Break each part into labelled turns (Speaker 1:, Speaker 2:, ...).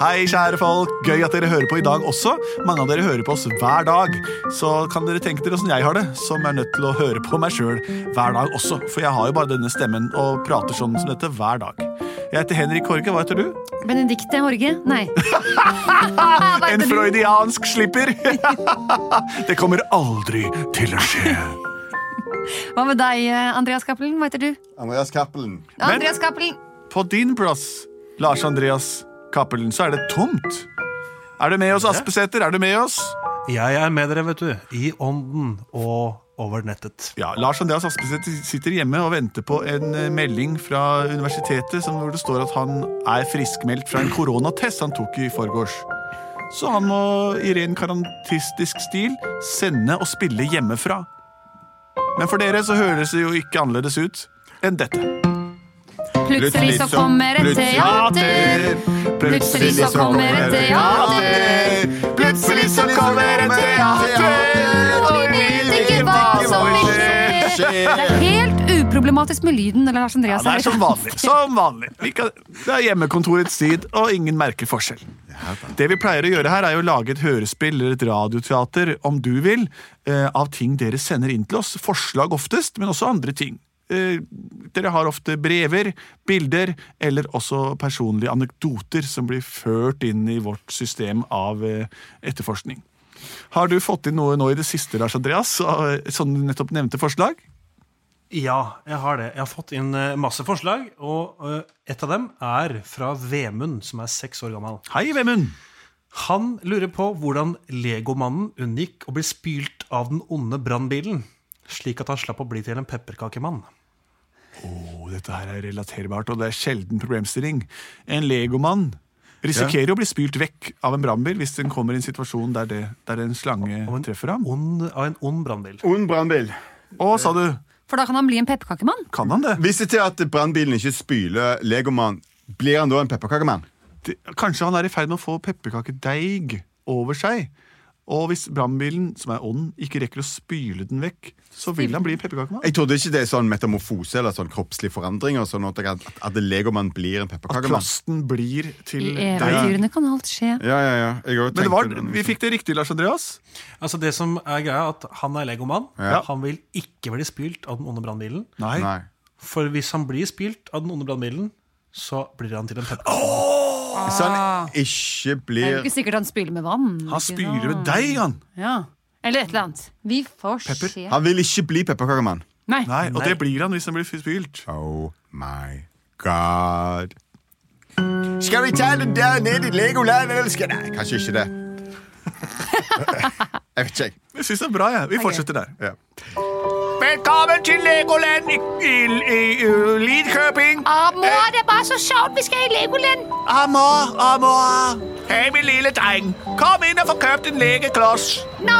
Speaker 1: Hei, kjære folk. Gøy at dere hører på i dag også. Mange av dere hører på oss hver dag. Så kan dere tenke dere åssen jeg har det, som er nødt til å høre på meg sjøl hver dag også. For jeg har jo bare denne stemmen og prater sånn som dette hver dag. Jeg heter Henrik Horge. Hva heter du?
Speaker 2: Benedicte Horge? Nei. Hva
Speaker 1: En
Speaker 2: heter du?
Speaker 1: freudiansk slipper. det kommer aldri til å skje.
Speaker 2: Hva med deg, eh, Andreas Cappelen? Hva heter du?
Speaker 3: Andreas Cappelen.
Speaker 2: Andreas Cappelen!
Speaker 1: På din plass, Lars Andreas Cappelen, så er det tomt. Er du med oss, Aspesæter? Er du med oss?
Speaker 4: Jeg er med dere, vet du. I ånden og over nettet.
Speaker 1: Ja, Lars Andreas Aspesæter sitter hjemme og venter på en eh, melding fra universitetet som hvor det står at han er friskmeldt fra en koronatest han tok i forgårs. Så han må i ren karantistisk stil sende og spille hjemmefra. Men for dere så høres det jo ikke annerledes ut enn dette.
Speaker 2: Plutselig så kommer et teater. Plutselig så kommer et teater.
Speaker 1: Plutselig så kommer et teater.
Speaker 2: Og vi vet ikke hva som vil skje. Det er helt uproblematisk med lyden. Eller Lars
Speaker 1: Ja,
Speaker 2: Andreas
Speaker 1: det er som vanlig. Som vanlig. Vi kan, det er hjemmekontorets tid, og ingen merker forskjell. Det vi pleier å gjøre her, er jo å lage et hørespill eller et radioteater, om du vil, eh, av ting dere sender inn til oss. Forslag oftest, men også andre ting. Eh, Dere har ofte brever, bilder eller også personlige anekdoter som blir ført inn i vårt system av eh, etterforskning. Har du fått inn noe nå i det siste, Lars Andreas? av, eh, Sånn nettopp nevnte forslag?
Speaker 4: Ja, jeg har det. Jeg har fått inn eh, masse forslag, og eh, et av dem er fra Vemund, som er seks år gammel.
Speaker 1: Hei, Vemund!
Speaker 4: Han lurer på hvordan Legomannen unngikk å bli spylt av den onde brannbilen, slik at han slapp å bli til en pepperkakemann.
Speaker 1: Åh, dette her er relaterbart, og det er sjelden problemstilling. En legomann risikerer å bli spylt vekk av en brannbil hvis den kommer i en situasjon der, det, der en slange
Speaker 4: Og en
Speaker 1: treffer ham.
Speaker 4: Ond, av en ond brannbil.
Speaker 3: Ond brannbil.
Speaker 1: Å, sa du!
Speaker 2: For da kan han bli en pepperkakemann.
Speaker 1: Kan han det?
Speaker 3: Hvis det er at brannbilen ikke spyler legoman, blir han da en pepperkakemann?
Speaker 1: det? Kanskje han er i ferd med å få pepperkakedeig over seg. Og hvis brannbilen, som er ånden, ikke rekker å spyle den vekk, så vil han bli pepperkakemann.
Speaker 3: Jeg trodde ikke det er sånn metamorfose eller sånn kroppslige forandringer. Sånn at, at, at legoman blir en
Speaker 1: At
Speaker 3: pepperkakemann.
Speaker 1: plasten blir til
Speaker 2: I
Speaker 1: deig.
Speaker 2: eventyrene kan alt skje.
Speaker 3: Ja, ja, ja. Jeg også
Speaker 1: Men det var,
Speaker 3: tenkte-
Speaker 1: vi fikk det riktig, Lars Andreas.
Speaker 4: Altså Det som er greia, er at han er legomann.
Speaker 3: Ja.
Speaker 4: Han vil ikke bli spylt av den onde brannbilen.
Speaker 1: Nei.
Speaker 3: Nei.
Speaker 4: For hvis han blir spilt av den onde brannbilen, så blir han til en pepperkake.
Speaker 3: Så han Sånn ikke
Speaker 2: Det er jo
Speaker 3: blir
Speaker 2: ikke sikkert han spyler med vann.
Speaker 1: Han
Speaker 2: ikke
Speaker 1: spyler med
Speaker 2: sant?
Speaker 1: deig, han.
Speaker 2: Ja. Eller et eller annet. Vi får
Speaker 1: Pepper.
Speaker 2: se.
Speaker 3: Han vil ikke bli pepperkakemann.
Speaker 2: Nei.
Speaker 1: Nei, Og
Speaker 4: Nei.
Speaker 1: det blir han hvis han blir spylt.
Speaker 3: Oh my god. Skal vi ta den der ned i Legoland, eller skal Nei, kanskje ikke det. Jeg vet ikke, jeg.
Speaker 1: Jeg synes det er bra, jeg. Vi fortsetter der.
Speaker 3: Ja.
Speaker 1: Velkommen til Legoland i, i, i, i Lidköping.
Speaker 2: Amor,
Speaker 1: Øh.
Speaker 2: det er bare så sjovt! Vi skal i Legoland!
Speaker 1: Amor, amor. Hei, min lille dreng. Kom inn og få kjøpt en legekloss.
Speaker 2: Nå,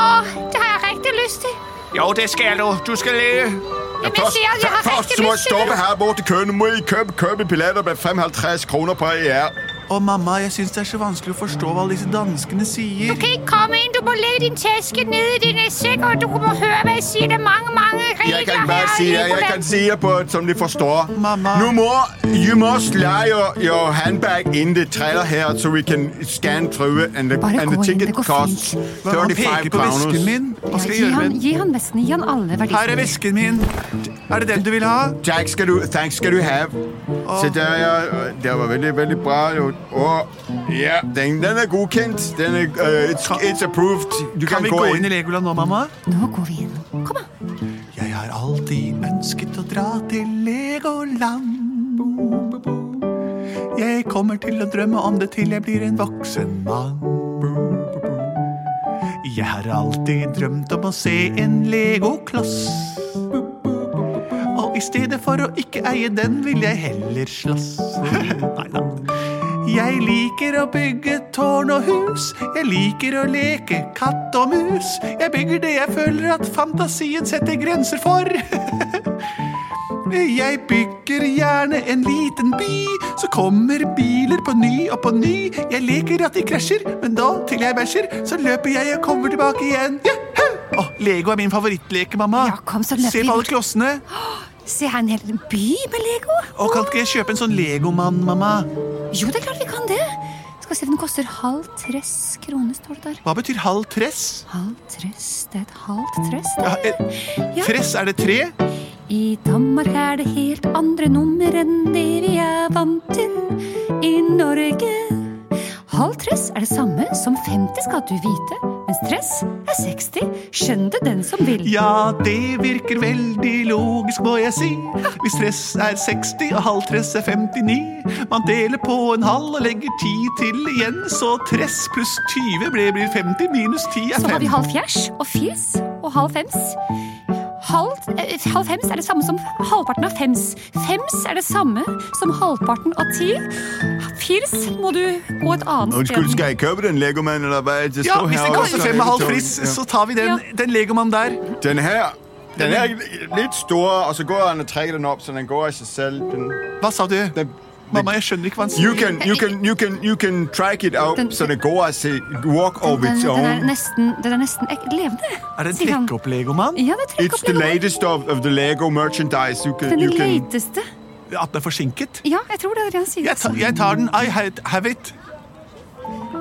Speaker 2: det har jeg riktig lyst til.
Speaker 1: Jo, det skal du. Du skal le.
Speaker 2: Men jeg sier at jeg har
Speaker 3: først
Speaker 2: riktig
Speaker 3: må jeg
Speaker 2: lyst til
Speaker 3: stoppe
Speaker 2: det.
Speaker 3: her borte i køen. Må jeg kjøpe, kjøpe billetter med 55 kroner per år?
Speaker 1: Og mamma, jeg synes det er så vanskelig å forstå hva alle disse danskene sier.
Speaker 5: kan ikke komme inn. Du må legge din taske ned i din sekk, og du må høre hva jeg sier. Det er mange, mange regler
Speaker 3: Jeg kan bare
Speaker 5: her
Speaker 3: si
Speaker 5: i
Speaker 3: det. Jeg
Speaker 5: Legoland.
Speaker 3: kan si det på et som de forstår.
Speaker 1: Mamma.
Speaker 3: Nu må, you must lay your, your handbag in the trailer here, so we can scan through it, and the,
Speaker 2: Bare
Speaker 3: and the
Speaker 2: gå inn,
Speaker 3: ticket
Speaker 2: det går
Speaker 3: costs
Speaker 2: fint.
Speaker 1: Han
Speaker 3: 35
Speaker 1: peker på vesken
Speaker 3: kroner.
Speaker 1: min. Hva skal jeg
Speaker 2: Gi
Speaker 1: gjøre
Speaker 2: han,
Speaker 1: med den?
Speaker 2: gi han vesten. Gi han alle
Speaker 1: Her er
Speaker 2: verdiene.
Speaker 1: vesken min. Er det den du vil ha?
Speaker 3: Takk skal du, takk skal du have. Se der, ja. Det var veldig, veldig bra. jo. Å, ja, den, den er godkjent. Den er, eh, it's, it's approved. Du
Speaker 1: Kan
Speaker 3: kan,
Speaker 1: vi gå inn i Legoland nå, mamma?
Speaker 2: Nå går vi inn. Kom, da.
Speaker 1: Jeg har alltid ønsket å dra til Legoland. Jeg kommer til å drømme om det til jeg blir en voksen mann. Jeg har alltid drømt om å se en legokloss. Og i stedet for å ikke eie den, vil jeg heller slåss. Neida. Jeg liker å bygge tårn og hus. Jeg liker å leke katt og mus. Jeg bygger det jeg føler at fantasien setter grenser for. Jeg bygger gjerne en liten by. Så kommer biler på ny og på ny. Jeg leker at de krasjer, men da, til jeg bæsjer, så løper jeg og kommer tilbake igjen. Juhu! Åh, Lego er min favorittleke, mamma.
Speaker 2: Ja, kom, så løper
Speaker 1: Se
Speaker 2: vi
Speaker 1: på alle
Speaker 2: bort.
Speaker 1: klossene.
Speaker 2: Se her, en hel by med Lego.
Speaker 1: Og kan ikke jeg kjøpe en sånn legomann, mamma?
Speaker 2: Jo, det er klart vi kan det. Skal se, den koster halv tress kroner, står det der.
Speaker 1: Hva betyr halv tress?
Speaker 2: Halv tress, det er et halvt tress.
Speaker 1: Ja,
Speaker 2: det.
Speaker 1: eh,
Speaker 2: Ja.
Speaker 1: Tress, er det tre?
Speaker 2: I Danmark er det helt andre nummer enn det vi er vant til i Norge. Halv tress er det samme som 50, skal du vite. Mens tress er 60. Skjønn det den som vil.
Speaker 1: Ja, det virker veldig logisk, må jeg si. Hvis tress er 60 og halv tress er 59, man deler på en halv og legger 10 til igjen, så tress pluss 20 blir blir 50 minus 10
Speaker 2: Så
Speaker 1: er
Speaker 2: har vi
Speaker 1: 5.
Speaker 2: halv fjers og fils og halv fems. Halv, eh, halv fems er det samme som halvparten av fems. Fems er det samme som halvparten av ti. Fils må du gå et annet
Speaker 3: Undskyld,
Speaker 2: sted.
Speaker 3: skal jeg købe den legomannen, eller hvad? Det
Speaker 1: Ja,
Speaker 3: står
Speaker 1: hvis det
Speaker 3: herovre,
Speaker 1: koster
Speaker 3: så
Speaker 1: fem
Speaker 3: jeg
Speaker 1: og halv
Speaker 3: tog-
Speaker 1: friss,
Speaker 3: Ja.
Speaker 1: så tar vi den, den legomannen der.
Speaker 3: Den her, den er lidt stor, og så går han og trækker den op, så den går af sig selv. Den,
Speaker 1: Hva sa du?
Speaker 3: den,
Speaker 1: Mamma, jeg skjønner ikke hva han sier.
Speaker 3: You can, you can, you can, you can track it out,
Speaker 2: Den-
Speaker 3: så den går af sig, walk of
Speaker 2: Den,
Speaker 3: its
Speaker 2: den, er
Speaker 3: own.
Speaker 2: nesten, den er nesten ek levende.
Speaker 1: Er det en
Speaker 2: sier han.
Speaker 1: trekkopp-legomann?
Speaker 2: Ja, det er
Speaker 3: It's the
Speaker 2: trekkopplegg.
Speaker 3: latest of, of the Lego merchandise. You can,
Speaker 2: Den
Speaker 3: you can,
Speaker 2: lateste.
Speaker 1: At den er forsinket?
Speaker 2: Ja, jeg tror det er det han sier.
Speaker 1: Jeg, ta, jeg tar den. I ha- have it.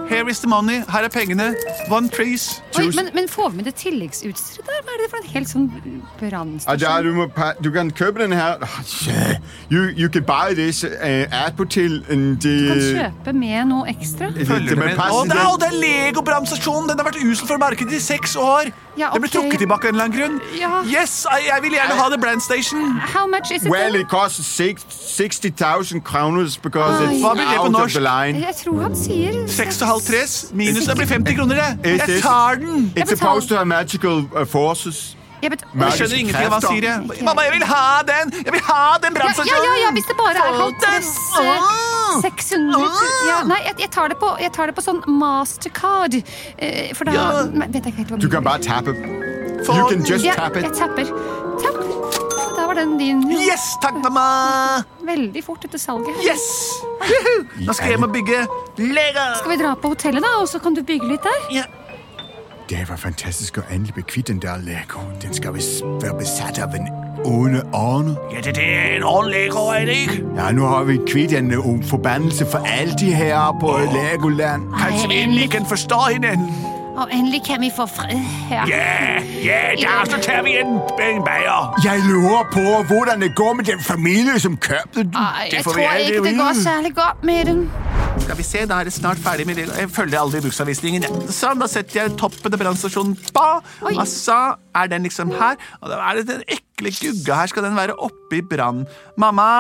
Speaker 1: Here is the money. Her er pengene. One trees.
Speaker 2: Oi, men, men får vi med det tilleggsutstyret der? Hva er det for en helt sånn
Speaker 3: Ah, der,
Speaker 2: brannstasjon?
Speaker 3: du, må, pa- du kan købe den her. Ah, yeah. You, you can buy this uh, ad på til en
Speaker 2: Kan
Speaker 3: det,
Speaker 2: kjøpe med noe ekstra?
Speaker 1: Følger
Speaker 3: det
Speaker 1: du
Speaker 3: med
Speaker 1: med?
Speaker 3: passen,
Speaker 1: Å, det er,
Speaker 3: den-
Speaker 1: å, det er Lego-brannstasjonen! Den har vært usel for markedet i seks år.
Speaker 2: Ja,
Speaker 1: Den ble
Speaker 2: ok.
Speaker 1: trukket tilbake av en eller annen grunn.
Speaker 2: Ja.
Speaker 1: Yes, I, jeg vil gjerne ha The Brandstation.
Speaker 2: How much is it?
Speaker 3: Well,
Speaker 2: then?
Speaker 3: it costs six- 60,000 kroners because
Speaker 2: Ej.
Speaker 3: it's
Speaker 1: Hvad vil det på
Speaker 3: out of
Speaker 1: norsk?
Speaker 3: the line.
Speaker 2: Jeg tror han sier
Speaker 1: Seks og halv tres minus det blir 50 kroner, det.
Speaker 3: It
Speaker 1: Jeg
Speaker 3: is-
Speaker 1: tar den!
Speaker 3: It's
Speaker 2: betaler-
Speaker 3: supposed to have magical uh, forces.
Speaker 2: Jeg bet-
Speaker 3: Nei,
Speaker 1: Jeg skjønner ingenting av hva han sier. jeg.
Speaker 2: Ikke.
Speaker 1: Mamma, jeg vil ha den! Jeg vil ha den
Speaker 2: ja, ja,
Speaker 1: brannstasjonen!
Speaker 2: ja, ja, hvis det bare er
Speaker 1: Få
Speaker 2: halv
Speaker 1: den!
Speaker 2: tres Ah!
Speaker 1: Åh!
Speaker 2: 600 tu- ja, Nei, jeg, jeg, tar det på, jeg tar det på sånn mastercard. eh, For da
Speaker 1: Ja.
Speaker 2: Nei, vet jeg ikke helt hva
Speaker 3: Du
Speaker 2: blir.
Speaker 3: kan bare tappe.
Speaker 1: Få
Speaker 3: You can
Speaker 1: den.
Speaker 3: just
Speaker 2: Ja,
Speaker 3: tap it.
Speaker 2: Jeg tapper. Tapp. Og Da var den din.
Speaker 1: Yes, takk, mamma!
Speaker 2: Veldig fort etter salget.
Speaker 1: Yes! Juhu! Nå skal jeg hjem og bygge Lego!
Speaker 2: Skal vi dra på hotellet, da, og så kan du bygge litt der?
Speaker 1: Ja.
Speaker 3: Det var fantastisk at endelig blive kvitt den der Lego. Den skal vist være besat af en onde ånd.
Speaker 1: Ja, det, det er en ordentlig Lego, er det ikke?
Speaker 3: Ja, nu har vi kvitt en uh, forbandelse for alle de her på Legoland.
Speaker 1: Kanskje vi endelig kan forstå hinanden.
Speaker 2: Og endelig kan vi få fred her.
Speaker 1: Ja, ja, der så tager vi en, en bager.
Speaker 3: Jeg lurer på, hvordan det går med den familie, som købte
Speaker 2: Nei,
Speaker 3: den.
Speaker 1: Det
Speaker 2: Ah, jeg
Speaker 1: får vi
Speaker 2: tror
Speaker 1: aldri
Speaker 2: ikke det
Speaker 1: vite.
Speaker 2: går særlig godt med den.
Speaker 1: Skal vi se, da er det snart ferdig med Lego. Jeg følger aldri bruksanvisningen. jeg. Sånn, da setter jeg toppen av brannstasjonen på,
Speaker 2: Oi.
Speaker 1: og så er den liksom her. Og da er det den ekle gugga her, skal den være oppe i brann. Mamma,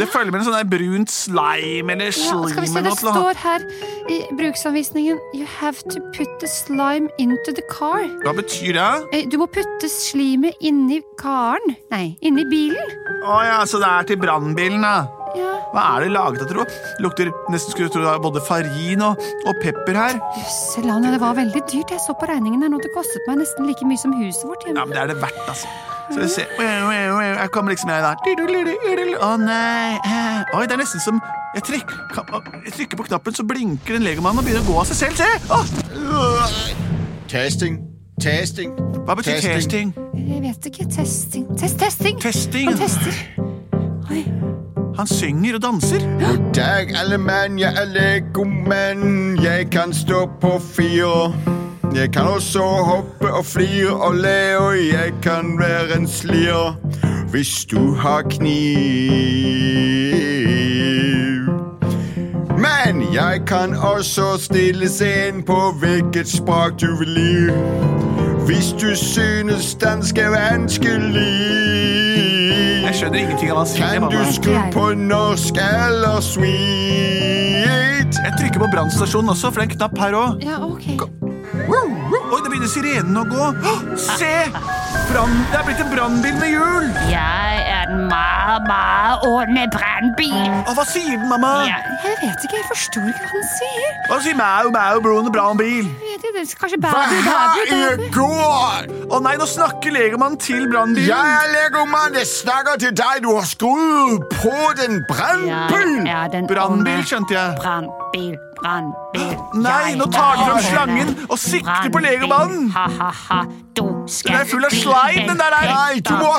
Speaker 1: det følger med en sånn der brunt slime eller
Speaker 2: Ja,
Speaker 1: slime
Speaker 2: skal vi se,
Speaker 1: eller noe
Speaker 2: det
Speaker 1: til å ha.
Speaker 2: står her i bruksanvisningen You have to put the slime into the car.
Speaker 1: Hva betyr det?
Speaker 2: Eh, Du må putte slimet inni karen. Nei, inni bilen.
Speaker 1: Å ja, så det er til brannbilen, da.
Speaker 2: Ja,
Speaker 1: Hva er det laget av, tro? Lukter nesten skulle tro det er både farin og, og pepper her.
Speaker 2: jøsseland, det var veldig dyrt. Jeg så på regningen her nå. Det kostet meg nesten like mye som huset vårt.
Speaker 1: Ja,
Speaker 2: hjemme.
Speaker 1: men det er det verdt, altså. Så vi ser Her kommer liksom jeg der. Å nei. Eh, Oi, det er nesten som jeg trykker, kan- jeg trykker på knappen, så blinker en legomann og begynner å gå av seg selv. Se! Å,
Speaker 3: Testing. Testing.
Speaker 1: hva betyr testing?
Speaker 2: Jeg vet ikke. Testing. Test, testing.
Speaker 1: Testing.
Speaker 2: Han tester. Oi.
Speaker 1: Han synger og danser.
Speaker 3: Goddag, alle mann. Jeg er legomand. Jeg kan stå på fire. Jeg kan også hoppe og flire og le, og jeg kan være en slir. Hvis du har kniv. Men jeg kan også stille scenen på hvilket språk du vil lide. Hvis du synes dansk er vanskelig.
Speaker 1: Jeg skjønner ingenting av hva han sier.
Speaker 3: Kan du
Speaker 1: mamma.
Speaker 3: skru på norsk eller sweet?
Speaker 1: Jeg trykker på brannstasjonen også, for det er en knapp her òg.
Speaker 2: Ja, ok.
Speaker 1: Oi, det begynner sirenen å gå. Å, Se! brann- det er blitt en brannbil med hjul!
Speaker 5: Jeg er en meget, meget onde brannbil.
Speaker 1: Å, hva sier den, mamma?
Speaker 5: Ja.
Speaker 2: Jeg vet ikke, jeg forstår ikke hva han sier.
Speaker 1: Hva sier mau, mau, broen, brannbil?
Speaker 2: Jeg vet ikke, det er kanskje
Speaker 3: Hva
Speaker 2: babu,
Speaker 3: her
Speaker 2: babu,
Speaker 3: i
Speaker 2: babu.
Speaker 3: går?
Speaker 1: Å nei, nå snakker legomannen til brannbilen.
Speaker 3: Jeg er legomann, jeg snakker til deg. Du har skrudd på den brannbilen.
Speaker 5: Jeg er den
Speaker 1: Brannbil,
Speaker 5: onde
Speaker 1: skjønte jeg.
Speaker 5: Brannbil, brannbil.
Speaker 1: Nei,
Speaker 5: Jeg
Speaker 1: nå tar den
Speaker 5: er
Speaker 1: fram
Speaker 5: onde
Speaker 1: slangen og sikter på
Speaker 5: brannbil.
Speaker 1: legomannen.
Speaker 5: Ha-ha-ha, du skal
Speaker 1: Den er full av slime, den der der.
Speaker 3: Nei, du må,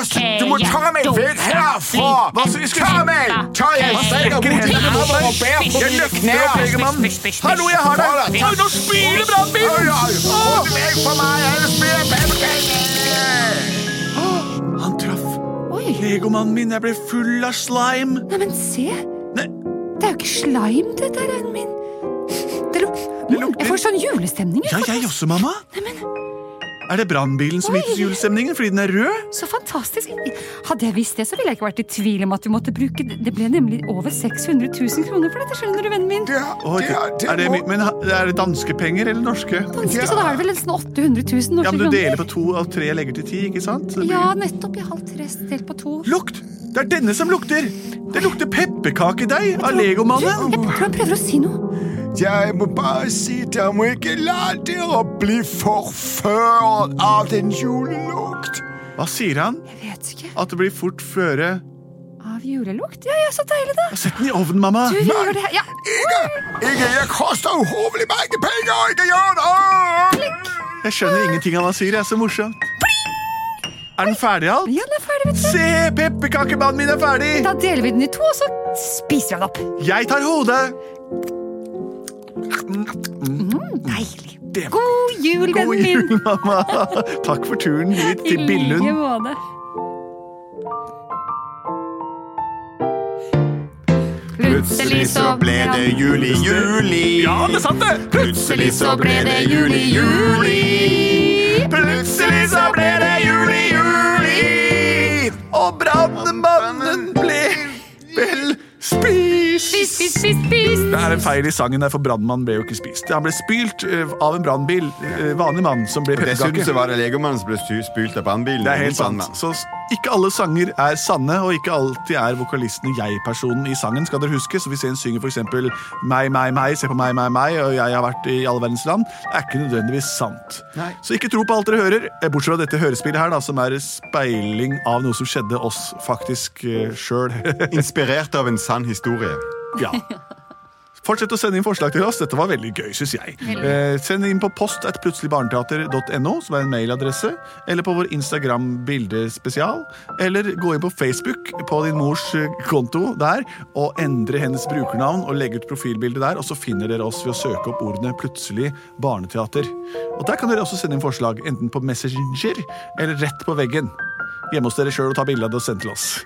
Speaker 3: du må ta meg vekk herfra!
Speaker 1: Hva skal vi
Speaker 3: Ta meg! Ta jeg strekker mot dine hopper og bærer på dine knær!
Speaker 1: Legomannen. Hallo, jeg har deg! Oi, nå spyr brannbilen!
Speaker 3: Hold vekk fra meg, ellers blir jeg bedre!
Speaker 1: Han traff
Speaker 2: Oi,
Speaker 1: legomannen min. Jeg ble full av slime.
Speaker 2: nei, men se.
Speaker 1: Nei.
Speaker 2: Det er jo ikke slime, dette her, øynene min. Det luk... Mm,
Speaker 1: lukter-
Speaker 2: jeg får sånn julestemning.
Speaker 1: Ja,
Speaker 2: jeg.
Speaker 1: jeg også, mamma. Er det brannbilen som gikk til julestemningen fordi den er rød?
Speaker 2: Så fantastisk. Hadde jeg visst det, så ville jeg ikke vært i tvil om at vi måtte bruke Det det ble nemlig over 600 000 kroner for dette, skjønner du, vennen min.
Speaker 1: Å,
Speaker 3: Det er- det
Speaker 1: er det,
Speaker 3: må-
Speaker 1: my- men ha- er det danske penger eller norske?
Speaker 2: Vanskelig, så da er det vel nesten 800 000
Speaker 1: Ja,
Speaker 2: norske
Speaker 1: men Du deler
Speaker 2: kroner.
Speaker 1: på to av tre legger til ti, ikke sant? Så det blir-
Speaker 2: Ja, nettopp. Jeg har halvt rest delt på to.
Speaker 1: Lukt! Det er denne som lukter! Det lukter pepperkakedeig av legomannen!
Speaker 2: Jeg tror han prøver å si noe.
Speaker 3: Jeg må bare si dere må ikke la dere bli forført av den julelukt.
Speaker 1: Hva sier han?
Speaker 2: Jeg vet ikke.
Speaker 1: At det blir fort føre
Speaker 2: Av julelukt? Ja, ja, så deilig, da.
Speaker 1: Sett den i ovnen, mamma!
Speaker 2: Du, vi gjør det her. Ja.
Speaker 3: Ikke! Ikke! Jeg koster uhorvelig mange penger! Ikke gjør det!
Speaker 1: Jeg skjønner ingenting av hva han sier. Det er så morsomt. Er den ferdig alt?
Speaker 2: ja, den er ferdig, vet du.
Speaker 1: Se! Pepperkakemannen min er ferdig!
Speaker 2: Da deler vi den i to, og så spiser vi den opp.
Speaker 1: Jeg tar hodet!
Speaker 2: Deilig.
Speaker 1: Det-
Speaker 2: God jul,
Speaker 1: God
Speaker 2: vennen min.
Speaker 1: jul, mamma! Takk for turen hit
Speaker 2: I
Speaker 1: til Billund.
Speaker 2: like måte.
Speaker 3: Plutselig så ble det jul i juli.
Speaker 1: Ja, det er sant, det!
Speaker 3: Plutselig så ble det jul i juli.
Speaker 1: Plutselig så ble det jul i juli, og brannmannen ble vel
Speaker 2: Spis,
Speaker 1: spist.
Speaker 2: spis, spis, spis.
Speaker 1: Det er en feil i sangen, der, for brannmannen ble jo ikke spist. Han ble spylt eh, av en brannbil. eh, Vanlig mann som ble
Speaker 3: Dessuten så
Speaker 1: pepperkake.
Speaker 3: var det legomannen som ble stu- spylt av brannbilen.
Speaker 1: Det er helt sant. Så s- ikke alle sanger er sanne, og ikke alltid er vokalisten jeg-personen i sangen. skal dere huske. Så Hvis en synger f.eks. meg, meg, meg, se på meg, meg, meg, og jeg har vært i alle verdens land, er ikke nødvendigvis sant.
Speaker 3: Nei.
Speaker 1: Så ikke tro på alt dere hører, eh, bortsett fra dette hørespillet her, da, som er speiling av noe som skjedde oss faktisk eh, sjøl.
Speaker 3: Inspirert av en sann historie.
Speaker 1: ja. Fortsett å sende inn forslag til oss. Dette var veldig gøy, syns jeg. Eh, send inn på post at plutseligbarneteater.no, som er en mailadresse, eller på vår Instagram bildespesial, eller gå inn på Facebook på din mors eh, konto der, og endre hennes brukernavn og legge ut profilbildet der, og så finner dere oss ved å søke opp ordene 'plutselig barneteater'. Og der kan dere også sende inn forslag, enten på Messenger eller rett på veggen. Hjemme hos dere sjøl og ta bilde av det og send til oss.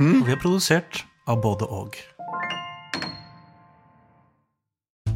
Speaker 4: Og vi er produsert av både og.